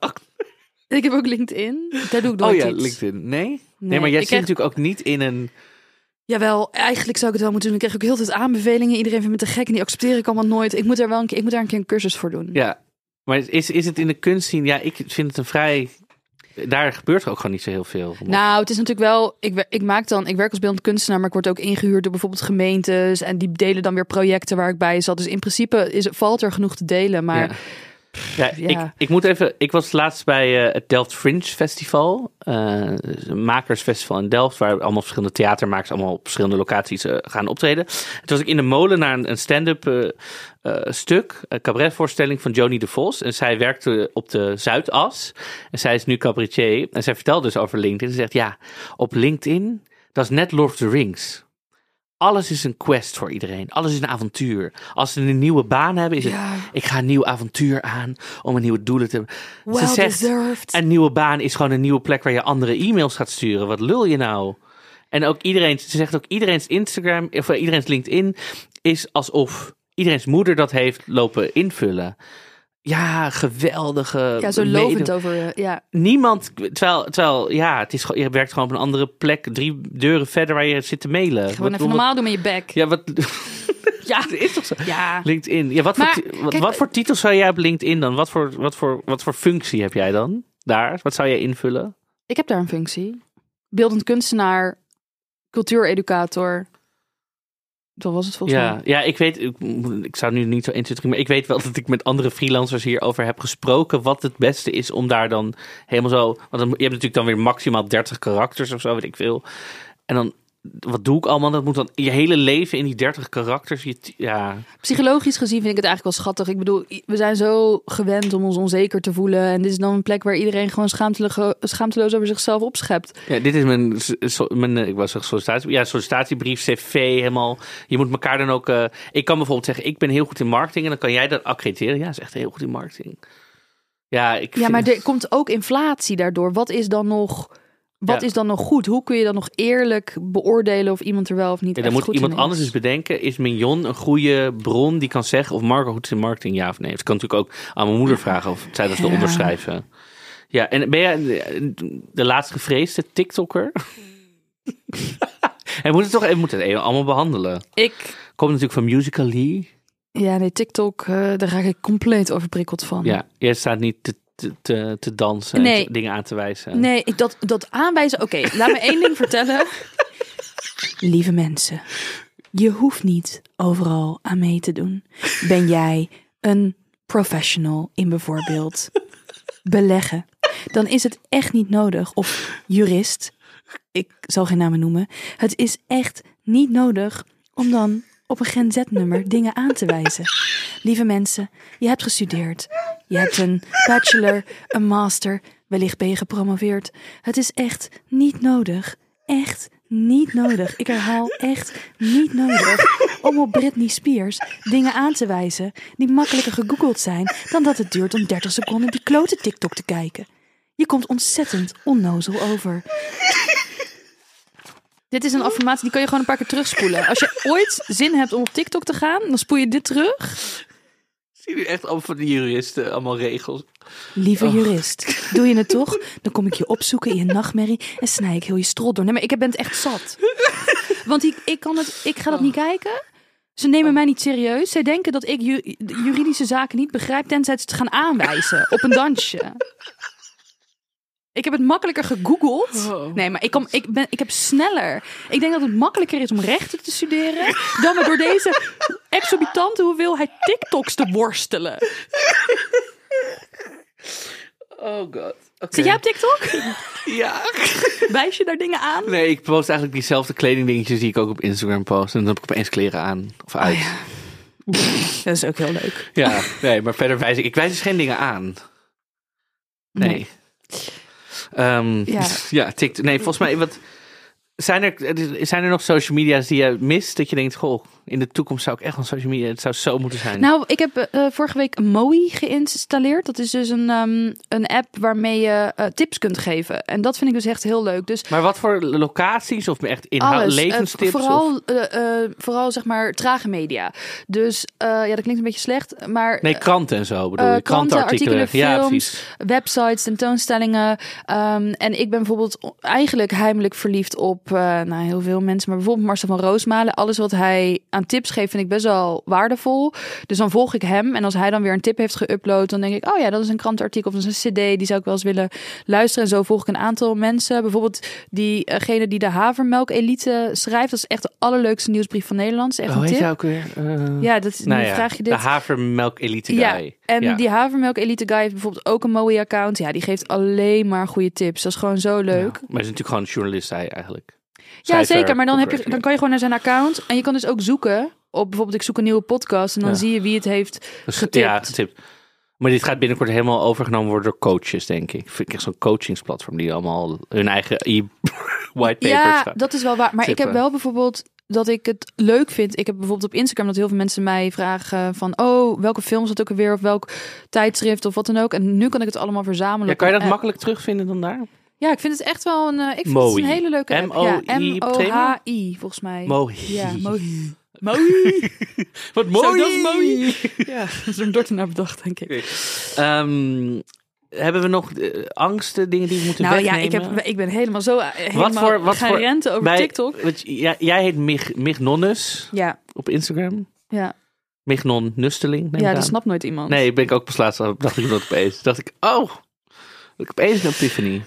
B: ik heb ook LinkedIn. Daar doe ik nooit
C: Oh ja,
B: iets.
C: LinkedIn. Nee? Nee,
B: Nee,
C: maar jij
B: ik
C: zit
B: krijg-
C: natuurlijk ook niet in een...
B: Jawel, eigenlijk zou ik het wel moeten doen. Ik krijg ook heel veel aanbevelingen. Iedereen vindt me te gek en die accepteer ik allemaal nooit. Ik moet daar wel een keer, ik moet daar een keer een cursus voor doen.
C: Ja, maar is, is het in de kunst zien? Ja, ik vind het een vrij... Daar gebeurt ook gewoon niet zo heel veel.
B: Nou, het is natuurlijk wel. Ik, wer- ik maak dan. Ik werk als beeldend kunstenaar, maar ik word ook ingehuurd door bijvoorbeeld gemeentes. En die delen dan weer projecten waar ik bij zat. Dus in principe is, valt er genoeg te delen. Maar
C: Ja. Ja,
B: ja.
C: Ik, ik moet even. Ik was laatst bij eh, het Delft Fringe Festival. eh, dus een makersfestival in Delft. Waar allemaal verschillende theatermakers. allemaal op verschillende locaties eh, gaan optreden. Toen was ik in de molen naar een, een stand-up eh, eh, stuk. Een cabaretvoorstelling van Joni de Vos. En zij werkte op de Zuidas. En zij is nu cabaretier. En zij vertelde dus over LinkedIn. Ze zegt ja, op LinkedIn. Dat is net Lord of the Rings. Alles is een quest voor iedereen. Alles is een avontuur. Als ze een nieuwe baan hebben, is
B: Ja.
C: het... Ik ga een nieuw avontuur aan om een nieuwe doelen te hebben.
B: Well
C: ze zegt,
B: deserved.
C: een nieuwe baan is gewoon een nieuwe plek waar je andere e-mails gaat sturen. Wat lul je nou? En ook iedereen, ze zegt ook iedereen's Instagram, of eh, iedereen's LinkedIn is alsof iedereen's moeder dat heeft lopen invullen. Ja, geweldige.
B: Ja, zo
C: mede-
B: lovend over. eh, Ja,
C: Niemand, terwijl, terwijl ja, het is, gewoon- je werkt gewoon op een andere plek, drie deuren verder waar je zit te mailen. Wat-
B: gewoon even
C: wat-
B: normaal doen met je bek. Ja.
C: Ja, wat. Het <laughs> is toch zo?
B: <laughs> ja.
C: LinkedIn. Ja, wat,
B: Maar,
C: voor, ti- wat,
B: kijk,
C: wat voor titel zou jij op LinkedIn dan? Wat voor, wat, voor, wat voor functie heb jij dan? Daar? Wat zou jij invullen?
B: Ik heb daar een functie. Beeldend kunstenaar, cultuureducator. Dat was het volgens
C: Ja,
B: mij.
C: ja, ik weet, ik, ik zou nu niet zo 1, 2, 3, maar ik weet wel <laughs> dat ik met andere freelancers hierover heb gesproken. Wat het beste is om daar dan helemaal zo. Want dan, je hebt natuurlijk dan weer maximaal 30 karakters of zo, weet ik veel. En dan, wat doe ik allemaal? Dat moet dan je hele leven in die 30 karakters. Je, t- ja.
B: Psychologisch gezien vind ik het eigenlijk wel schattig. Ik bedoel, i- we zijn zo gewend om ons onzeker te voelen. En dit is dan een plek waar iedereen gewoon schaamtelo- schaamteloos over zichzelf opschept.
C: Ja, dit is mijn, s- so- mijn eh, ik was zeggen sollicitatie, ja, sollicitatiebrief, cv, helemaal. Je moet elkaar dan ook, eh, ik kan bijvoorbeeld zeggen, ik ben heel goed in marketing en dan kan jij dat accrediteren. Ja, is echt heel goed in marketing. Ja, ik
B: Ja,
C: vind-
B: maar er komt ook inflatie daardoor. Wat is dan nog, wat
C: Ja.
B: is dan nog goed? Hoe kun je dan nog eerlijk beoordelen of iemand er wel of niet
C: Ja, dan
B: echt
C: moet
B: goed
C: iemand
B: in is?
C: anders eens bedenken, is Mignon een goede bron die kan zeggen of Marco goed is in marketing, ja of nee. Dat kan natuurlijk ook aan mijn moeder vragen of zij dat wil
B: Ja.
C: onderschrijven. Ja, en ben jij de- de laatst gevreesde
B: <laughs>
C: TikToker? Hij moet het toch hij moet het even allemaal behandelen.
B: Ik,
C: Komt natuurlijk van
B: Mm-hmm.
C: Musical.ly.
B: ja, nee, TikTok, eh, daar raak ik compleet overprikkeld van.
C: Ja, jij staat niet te, te, te, te dansen en
B: Nee.
C: te- dingen aan te wijzen.
B: Nee, ik- dat, dat aanwijzen. Oké, laat me één ding vertellen. <laughs> Lieve mensen, je hoeft niet overal aan mee te doen. Ben jij een professional in bijvoorbeeld beleggen? Dan is het echt niet nodig. Of jurist, ik zal geen namen noemen. Het is echt niet nodig om dan op een Gen Z-nummer dingen aan te wijzen. Lieve mensen, je hebt gestudeerd. Je hebt een bachelor, een master. Wellicht ben je gepromoveerd. Het is echt niet nodig. Echt niet nodig. Ik herhaal echt niet nodig om op Britney Spears dingen aan te wijzen die makkelijker gegoogeld zijn dan dat het duurt om 30 seconden die klote TikTok te kijken. Je komt ontzettend onnozel over. Dit is een affirmatie die kan je gewoon een paar keer terugspoelen. Als je ooit zin hebt om op TikTok te gaan, dan spoel je dit terug.
C: Zie je echt allemaal van die juristen, allemaal regels.
B: Lieve jurist, doe je het toch? Dan kom ik je opzoeken in je nachtmerrie en snij ik heel je strot door. Nee, maar ik ben het echt zat. Want ik, ik, kan het, ik ga dat niet kijken. Ze nemen mij niet serieus. Zij denken dat ik ju- de juridische zaken niet begrijp, tenzij ze het gaan aanwijzen op een dansje. Ik heb het makkelijker gegoogeld. Nee, maar ik, kan, ik, ben, ik heb sneller. Ik denk dat het makkelijker is om rechten te studeren. dan me door deze exorbitante hoeveelheid TikToks te worstelen.
C: Oh god. Oké.
B: Zit jij op TikTok?
C: Ja.
B: Wijs je daar dingen aan?
C: Nee, ik post eigenlijk diezelfde kledingdingetjes die ik ook op Instagram post. En dan heb ik opeens kleren aan of
B: Ah,
C: uit. ja.
B: Dat is ook heel leuk.
C: nee, maar verder wijs ik... Ik wijs dus geen dingen aan. Nee.
B: Nee.
C: Ehm,
B: Ja.
C: ja. TikTok. Nee, volgens mij... Wat, zijn, er, zijn er nog social media's die je mist? Dat je denkt, goh, in de toekomst zou ik echt een social media... Het zou zo moeten zijn.
B: Nou, ik heb eh, eh, vorige week Mowi geïnstalleerd. Dat is dus een, ehm, een app waarmee je eh, tips kunt geven. En dat vind ik dus echt heel leuk. Dus
C: Maar wat voor locaties of echt inhoud,
B: alles. eh,
C: levenstips? of-
B: vooral, eh, eh, vooral zeg maar trage media. Dus eh, ja, dat klinkt een beetje slecht. Maar
C: Nee, kranten en zo bedoel
B: eh,
C: je.
B: kranten,
C: Krantenartikelen.
B: artikelen,
C: ja,
B: films.
C: precies.
B: websites, tentoonstellingen. Ehm, en ik ben bijvoorbeeld o- eigenlijk heimelijk verliefd op eh, nou, heel veel mensen. Maar bijvoorbeeld Marcel van Roosmalen. Alles wat hij aan tips geeft vind ik best wel waardevol. Dus dan volg ik hem. En als hij dan weer een tip heeft geüpload, dan denk ik... oh ja, dat is een krantenartikel of dat is een cd. Die zou ik wel eens willen luisteren. En zo volg ik een aantal mensen. Bijvoorbeeld diegene die de Havermelk Elite schrijft. Dat is echt de allerleukste nieuwsbrief van Nederland. Dat is echt
C: Oh,
B: een
C: heet
B: tip.
C: jij ook weer? Eh,
B: Ja, dat, is-
C: nou
B: nu
C: ja,
B: vraag je dit.
C: De havermelk elite guy.
B: Ja, En
C: Ja.
B: die havermelk elite guy heeft bijvoorbeeld ook een mooie account. Ja, die geeft alleen maar goede tips. Dat is gewoon zo
C: Ja,
B: leuk.
C: maar hij is natuurlijk gewoon een journalist, hij eigenlijk.
B: Ja,
C: Schrijver,
B: zeker. Maar dan, heb je,
C: copywriter,
B: dan kan je gewoon naar zijn account. En je kan dus ook zoeken op bijvoorbeeld ik zoek een nieuwe podcast. En dan
C: Ja.
B: zie je wie het heeft.
C: Dus-
B: getipt.
C: Ja, getipt. Maar dit gaat binnenkort helemaal overgenomen worden door coaches, denk ik. Vind ik echt zo'n coachingsplatform die allemaal hun eigen e- <laughs> white papers
B: ja,
C: gaan-
B: dat is wel waar. Maar ik heb
C: tippen.
B: wel bijvoorbeeld dat ik het leuk vind. Ik heb bijvoorbeeld op Instagram dat heel veel mensen mij vragen van... oh, welke film zat ook alweer? Of welk tijdschrift of wat dan ook. En nu kan ik het allemaal verzamelen.
C: Ja, kan je dat
B: Eh,
C: makkelijk terugvinden dan daar?
B: Ja, ik vind het echt wel een, eh, ik vind het
C: Moi.
B: een hele leuke app. Ja,
C: M-O-I, prima.
B: M-O-H-I, volgens mij.
C: Mooi. <laughs>
B: Ja, Mohi.
C: Wat mooi.
B: Zo, dat is mooi. Ja, <laughs> dat is hem Dorten naar bedacht, denk ik.
C: <laughs> Ehm, hebben we nog eh, angsten, dingen die we moeten
B: Nou ja,
C: wegnemen?
B: ik, heb, ik ben helemaal zo eh, helemaal
C: voor- wat
B: gaan
C: voor-
B: renten over
C: Bij-
B: TikTok.
C: want j- ja, jij heet Mig, Mig Nonnes
B: Ja,
C: op Instagram.
B: ja.
C: Mig Non Nusteling, neem ik
B: ja
C: aan.
B: dat snapt nooit iemand.
C: Nee, ben ik ook pas laatst aan- dacht ik dat opeens. Dacht ik, oh, ik opeens een epiphany.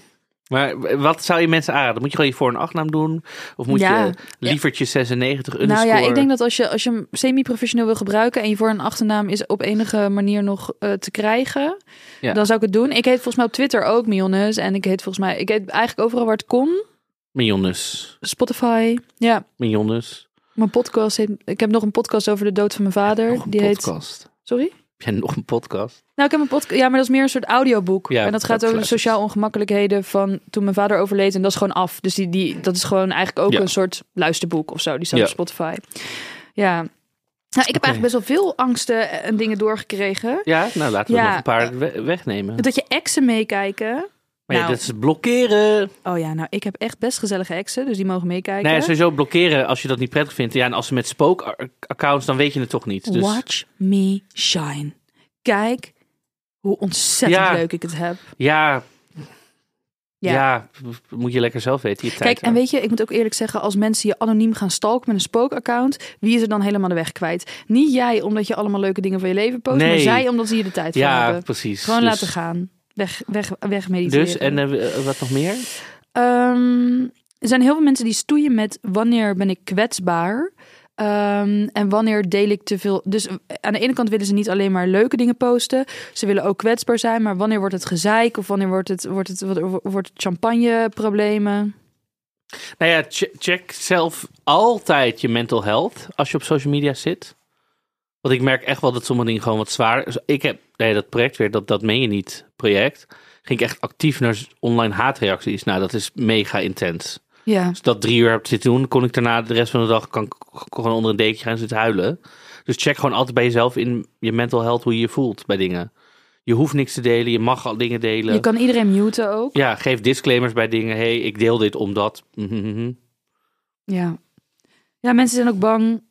C: Maar w- wat zou je mensen aanraden? Moet je gewoon je voor- en achternaam doen? Of moet
B: Ja.
C: je lievertje 96
B: Nou
C: underscore?
B: ja, ik denk dat als je, als je hem semi-professioneel wil gebruiken en je voor- en achternaam is op enige manier nog eh, te krijgen,
C: Ja.
B: dan zou ik het doen. Ik heet volgens mij op Twitter ook Mionus en ik heet volgens mij, ik heet eigenlijk overal waar het kon.
C: Mignonnes.
B: Spotify, ja.
C: Mignonnes.
B: Mijn podcast heet, ik heb nog een podcast over de dood van mijn vader.
C: Nog een
B: die heet,
C: podcast.
B: sorry?
C: Heb jij nog een podcast?
B: Nou, ik heb een podcast, ja, maar dat is meer een soort audioboek.
C: Ja,
B: en dat
C: dat
B: gaat over de
C: luistert.
B: sociaal ongemakkelijkheden van toen mijn vader overleed en dat is gewoon af. Dus die, die, dat is gewoon eigenlijk ook
C: Ja.
B: een soort luisterboek of zo. Die staat
C: Ja.
B: op Spotify. Ja. Nou, ik heb
C: Oké.
B: eigenlijk best wel veel angsten en dingen doorgekregen.
C: Ja, nou laten we
B: Ja.
C: nog een paar we- wegnemen.
B: Dat je exen meekijken.
C: Maar ja,
B: Nou.
C: dat is blokkeren.
B: Oh ja, nou, ik heb echt best gezellige exen, dus die mogen meekijken.
C: Nee, sowieso blokkeren als je dat niet prettig vindt. Ja, en als ze met spookaccounts, dan weet je het toch niet. Dus
B: Watch me shine. Kijk hoe ontzettend
C: Ja.
B: leuk ik het heb.
C: ja,
B: Ja.
C: ja. moet je lekker zelf weten. Je tijd
B: Kijk, en
C: aan.
B: weet je, ik moet ook eerlijk zeggen, als mensen je anoniem gaan stalken met een spookaccount, wie is er dan helemaal de weg kwijt? Niet jij, omdat je allemaal leuke dingen van je leven post, maar
C: Nee.
B: zij, omdat ze hier de tijd voor
C: Ja,
B: hebben.
C: precies.
B: Gewoon
C: Dus-
B: laten gaan. Weg, weg, weg mediteren.
C: Dus, en eh, wat nog meer?
B: Ehm, er zijn heel veel mensen die stoeien met wanneer ben ik kwetsbaar Ehm, en wanneer deel ik te veel. Dus eh, aan de ene kant willen ze niet alleen maar leuke dingen posten, ze willen ook kwetsbaar zijn, maar wanneer wordt het gezeik of wanneer wordt het, wordt het, wordt het, wordt het champagne-problemen?
C: Nou ja, che- check zelf altijd je mental health als je op social media zit. Want ik merk echt wel dat sommige dingen gewoon wat zwaar is. Ik heb, nee, dat project weer, dat, dat meen je niet, project. Ging ik echt actief naar s- online haatreacties. Nou, dat is mega intens.
B: Ja.
C: Als ik dat drie uur heb zitten doen, kon ik daarna de rest van de dag kan, ik gewoon onder een dekentje gaan zitten huilen. Dus check gewoon altijd bij jezelf in je mental health hoe je je voelt bij dingen. Je hoeft niks te delen, je mag al dingen delen.
B: Je kan iedereen muten ook.
C: Ja, geef disclaimers bij dingen. hey, ik deel dit omdat. Mhm, mhm.
B: Ja. Ja, mensen zijn ook bang.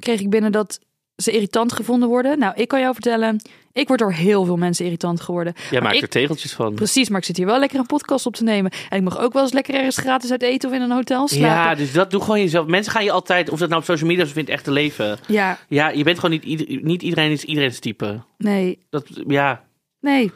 B: Kreeg ik binnen dat ze irritant gevonden worden. Nou, ik kan jou vertellen, ik word door heel veel mensen irritant geworden.
C: Jij
B: Maar
C: maakt
B: ik-
C: er tegeltjes van.
B: Precies, maar ik zit hier wel lekker een podcast op te nemen. En ik mag ook wel eens lekker ergens gratis uit eten of in een hotel
C: Ja,
B: slapen.
C: dus dat doe gewoon jezelf. Mensen gaan je altijd, of dat nou op social media is of in het echte leven.
B: Ja,
C: Ja, je bent gewoon niet, ieder- niet iedereen is iedereen's type.
B: nee,
C: Dat, ja,
B: nee.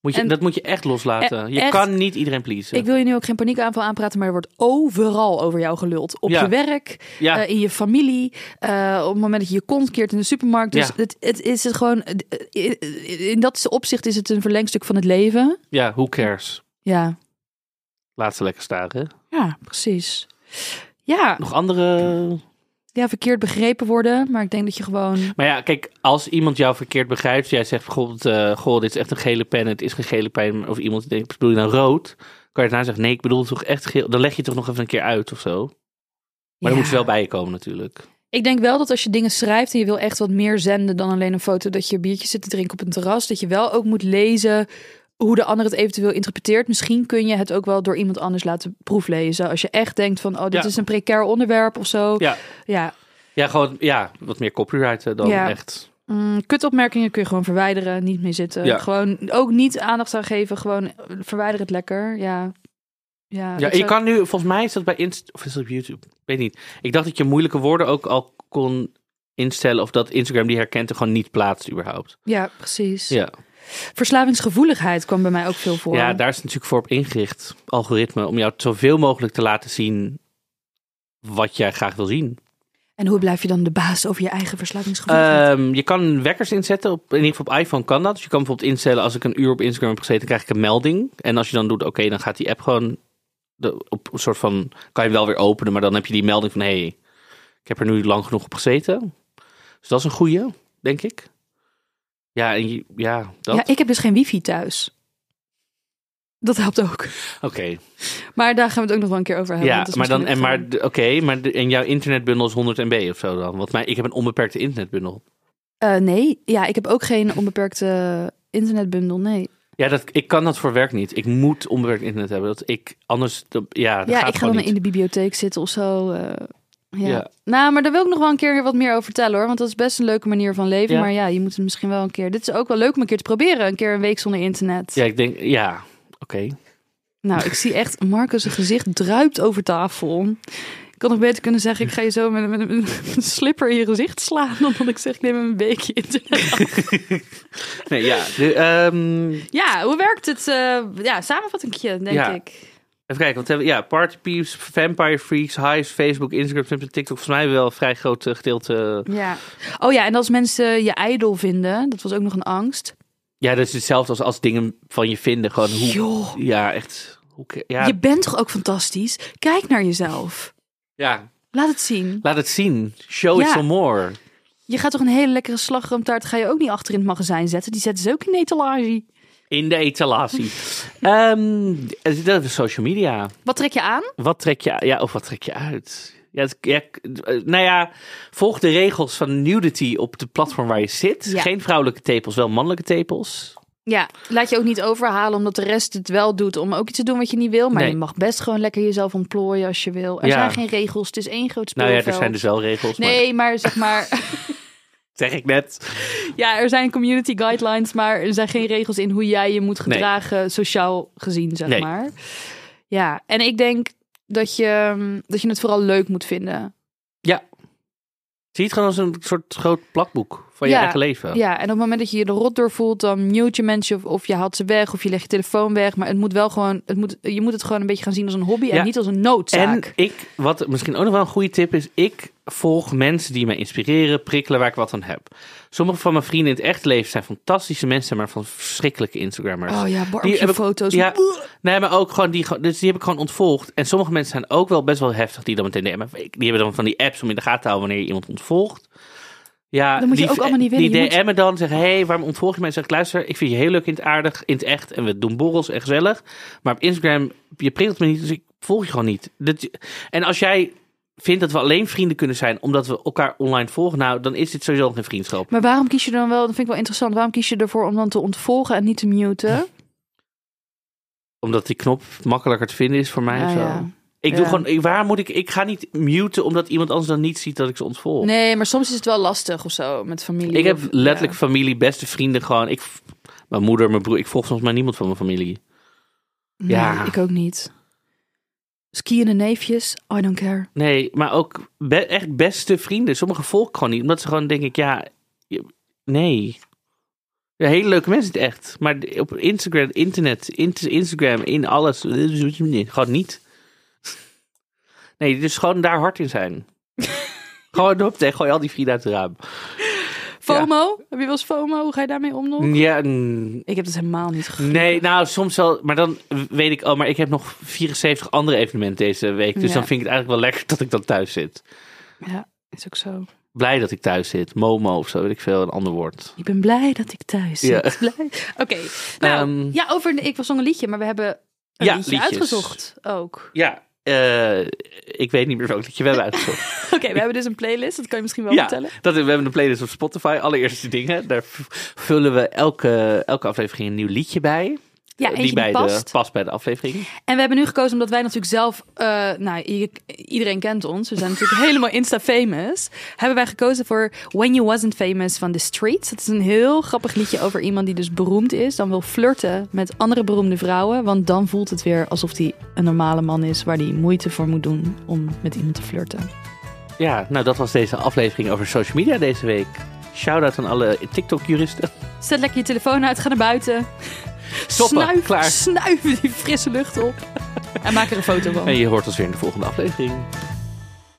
C: moet je,
B: En-
C: dat moet je echt loslaten.
B: E-
C: je
B: echt.
C: kan niet iedereen pleasen.
B: Ik wil je nu ook geen paniekaanval aanpraten, maar er wordt overal over jou geluld. Op
C: Ja.
B: je werk,
C: Ja.
B: eh, in je familie, eh, op het moment dat je je kont keert in de supermarkt. Dus
C: Ja.
B: het, het is het gewoon, eh, in dat opzicht is het een verlengstuk van het leven.
C: Ja, who cares?
B: Ja,
C: Laat ze lekker staan. hè?
B: Ja, precies. Ja,
C: Nog andere.
B: ja, verkeerd begrepen worden, maar ik denk dat je gewoon.
C: Maar ja, kijk, als iemand jou verkeerd begrijpt, jij zegt bijvoorbeeld: eh, Goh, dit is echt een gele pen, het is geen gele pen. Of iemand denkt: Bedoel je nou rood? Kan je daarna zeggen: Nee, ik bedoel toch echt geel. Dan leg je het toch nog even een keer uit of zo. Maar
B: Ja.
C: dan moet je wel bij je komen natuurlijk.
B: Ik denk wel dat als je dingen schrijft en je wil echt wat meer zenden dan alleen een foto dat je biertje zit te drinken op een terras, dat je wel ook moet lezen hoe de ander het eventueel interpreteert. Misschien kun je het ook wel door iemand anders laten proeflezen. Als je echt denkt van, oh, dit
C: Ja.
B: is een precair onderwerp of zo.
C: Ja,
B: Ja.
C: ja gewoon ja, wat meer copyright eh, dan
B: Ja.
C: echt.
B: Mm, kutopmerkingen kun je gewoon verwijderen, niet mee zitten.
C: Ja.
B: Gewoon ook niet aandacht aan geven, gewoon eh, verwijder het lekker. Ja. Ja,
C: Ja,
B: ik
C: je
B: zou-
C: kan nu, volgens mij is dat bij Insta of is dat op YouTube? Ik weet niet. Ik dacht dat je moeilijke woorden ook al kon instellen of dat Instagram die herkent en gewoon niet plaatst überhaupt.
B: ja precies.
C: Ja,
B: Verslavingsgevoeligheid kwam bij mij ook veel voor.
C: ja daar is het natuurlijk voor op ingericht, algoritme, om jou zoveel mogelijk te laten zien wat jij graag wil zien.
B: En hoe blijf je dan de baas over je eigen verslavingsgevoel?
C: Ehm, je kan wekkers inzetten. Op, in ieder geval op iPhone kan dat. Dus je kan bijvoorbeeld instellen als ik een uur op Instagram heb gezeten, krijg ik een melding. En als je dan doet, oké, dan gaat die app gewoon de, op een soort van, kan je hem wel weer openen. Maar dan heb je die melding van, hé, hey, ik heb er nu lang genoeg op gezeten. Dus dat is een goeie, denk ik. Ja, en je- ja, dat.
B: ja, ik heb dus geen wifi thuis. Dat helpt ook.
C: Oké.
B: Maar daar gaan we het ook nog wel een keer over hebben.
C: Ja,
B: Eh, want dat is
C: maar dan, en
B: misschien ook
C: maar,
B: gewoon-
C: d- oké, maar de- en jouw internetbundel is 100 MB of zo dan? Want mij, ik heb een onbeperkte internetbundel.
B: Eh, nee, ja, ik heb ook geen onbeperkte internetbundel. Nee.
C: Ja, dat, ik kan dat voor werk niet. Ik moet onbewerkt internet hebben. Dat ik anders, dat- ja, dat
B: Ja,
C: gaat
B: ik ga
C: gewoon
B: dan
C: niet.
B: in de bibliotheek zitten of zo. eh, ja.
C: Ja.
B: Nou, maar daar wil ik nog wel een keer wat meer over vertellen hoor. Want dat is best een leuke manier van leven.
C: Ja.
B: Maar ja, je moet het misschien wel een keer. Dit is ook wel leuk om een keer te proberen. Een keer een week zonder internet.
C: Ja, ik denk, ja, oké.
B: Nou, ik zie echt Marcus' gezicht druipt over tafel. Ik had nog beter kunnen zeggen: ik ga je zo met, met, met een slipper in je gezicht slaan. <laughs> Dan dat ik zeg: ik neem een weekje internet.
C: Nee, ja. de, ehm,
B: Ja, hoe werkt het? eh ja, samenvattingje, denk
C: Ja.
B: ik.
C: even kijken, wat hebben we? Ja, Party Peeps, Vampire Freaks, Hives, Facebook, Instagram, Snapchat, TikTok. Volgens mij wel een vrij groot eh, gedeelte.
B: Ja. Oh ja, en als mensen je ijdel vinden, dat was ook nog een angst.
C: Ja, dat is hetzelfde als, als dingen van je vinden. Gewoon hoe,
B: Joh.
C: ja, echt. Hoe, ja,
B: Je bent toch ook fantastisch? Kijk naar jezelf.
C: ja,
B: Laat het zien.
C: laat het zien. Show it
B: Ja.
C: some more.
B: Je gaat toch een hele lekkere slagroomtaart ga je ook niet achter in het magazijn zetten. Die zetten ze ook in de etalage.
C: In de etalatie. Ehm, dat is social media.
B: Wat trek je aan?
C: Wat trek je Ja, of wat trek je uit? Ja, het- ja, k- eh, nou ja, volg de regels van nudity op de platform waar je zit.
B: Ja.
C: Geen vrouwelijke tepels, wel mannelijke tepels.
B: Ja, laat je ook niet overhalen omdat de rest het wel doet om ook iets te doen wat je niet wil. Maar
C: Nee.
B: je mag best gewoon lekker jezelf ontplooien als je wil. Er
C: Ja.
B: zijn geen regels, het is één groot
C: Nou
B: speelveld.
C: ja, er zijn dus wel regels. Maar,
B: Nee, maar zeg maar...
C: zeg ik net.
B: Ja, er zijn community guidelines, maar er zijn geen regels in hoe jij je moet
C: Nee.
B: gedragen, sociaal gezien, zeg
C: Nee.
B: maar. Ja, en ik denk dat je, mm, dat je het vooral leuk moet vinden.
C: Zie je het gewoon als een soort groot plakboek van je
B: Ja,
C: eigen leven.
B: Ja, en op het moment dat je je er rot door voelt, dan mute je mensen of, of je haalt ze weg of je legt je telefoon weg. Maar het moet wel gewoon, het moet, je moet het gewoon een beetje gaan zien als een hobby en
C: Ja.
B: niet als een noodzaak.
C: En ik, wat misschien ook nog wel een goede tip is, ik volg mensen die mij inspireren, prikkelen waar ik wat aan heb. Sommige van mijn vrienden in het echt leven zijn fantastische mensen, maar van verschrikkelijke Instagrammers.
B: Oh ja,
C: Die heb ik-
B: barbecue-foto's.
C: Ja, nee, maar ook gewoon die, dus die heb ik gewoon ontvolgd. En sommige mensen zijn ook wel best wel heftig die dan meteen DM'en. Die hebben dan van die apps om in de gaten te houden wanneer je iemand ontvolgt. Ja,
B: Dat moet je
C: die,
B: ook allemaal niet willen.
C: Die
B: Je moet-
C: DM'en dan zeggen, hé, hey, waarom ontvolg je mij? Zeg ik, luister, ik vind je heel leuk in het aardig, in het echt. En we doen borrels en gezellig. Maar op Instagram, je prikkelt me niet, dus ik volg je gewoon niet. Dat, en als jij vindt dat we alleen vrienden kunnen zijn omdat we elkaar online volgen, nou, dan is dit sowieso geen vriendschap.
B: Maar waarom kies je dan wel, dat vind ik wel interessant, waarom kies je ervoor om dan te ontvolgen en niet te muten?
C: Omdat die knop makkelijker te vinden is voor mij.
B: Ah,
C: of zo.
B: ja.
C: Ik
B: Ja.
C: doe gewoon, ik- waar moet ik, ik ga niet muten omdat iemand anders dan niet ziet dat ik ze ontvolg.
B: Nee, maar soms is het wel lastig of zo met familie.
C: ik heb
B: of-
C: letterlijk
B: ja.
C: familie, beste vrienden gewoon. Ik, mijn moeder, mijn broer, ik volg soms maar niemand van mijn familie. ja.
B: Nee, ik ook niet. Skiën en neefjes, I don't care.
C: Nee, maar ook be- echt beste vrienden. Sommige volg ik gewoon niet, omdat ze gewoon denk ik, ja, je- nee. Ja, hele leuke mensen in het echt. Maar d- op Instagram, internet, int- Instagram, in alles, <laughs> gewoon niet. Nee, dus gewoon daar hard in
B: <laughs>
C: zijn. gewoon op tegen, gooi al die vrienden uit het raam.
B: FOMO? Heb je wel eens FOMO? Hoe ga je daarmee om nog?
C: Ja, mm,
B: Ik heb dat helemaal niet gegeten.
C: Nee, nou soms wel. Maar dan weet ik, oh, maar ik heb nog 74 andere evenementen deze week. Dus
B: Ja.
C: dan vind ik het eigenlijk wel lekker <laughs> dat ik dan thuis zit.
B: Ja, is ook zo.
C: Blij dat ik thuis zit. Momo of zo, weet ik veel, een ander woord.
B: Ik ben blij dat ik thuis
C: Ja.
B: zit. Blij. Oké, nou,
C: Ehm.
B: ja, over... Ik was zong een liedje, maar we hebben een
C: Ja,
B: liedje
C: liedjes.
B: uitgezocht ook.
C: Ja, eh, ik weet niet meer welk dat je wel uitgezocht.
B: Oké, we hebben dus een playlist, dat kan je misschien wel
C: ja,
B: vertellen.
C: <laughs> dat, we hebben een playlist op Spotify. Allereerste dingen. Daar v- vullen we elke, elke aflevering een nieuw liedje bij. eh,
B: Ja, eentje
C: die bij
B: past.
C: De, past bij de aflevering.
B: En we hebben nu gekozen omdat wij natuurlijk zelf, eh, nou, i- iedereen kent ons. We zijn natuurlijk <laughs> helemaal insta-famous. Hebben wij gekozen voor When You Wasn't Famous van The Streets. Dat is een heel grappig liedje over iemand die dus beroemd is. Dan wil flirten met andere beroemde vrouwen. Want dan voelt het weer alsof hij een normale man is waar hij moeite voor moet doen om met iemand te flirten.
C: Ja, nou dat was deze aflevering over social media deze week. Shout-out aan alle TikTok-juristen.
B: Zet lekker je telefoon uit, ga naar buiten.
C: Stoppen,
B: snuif,
C: klaar.
B: snuif die frisse lucht op. En maak er een foto van.
C: En je hoort ons weer in de volgende aflevering.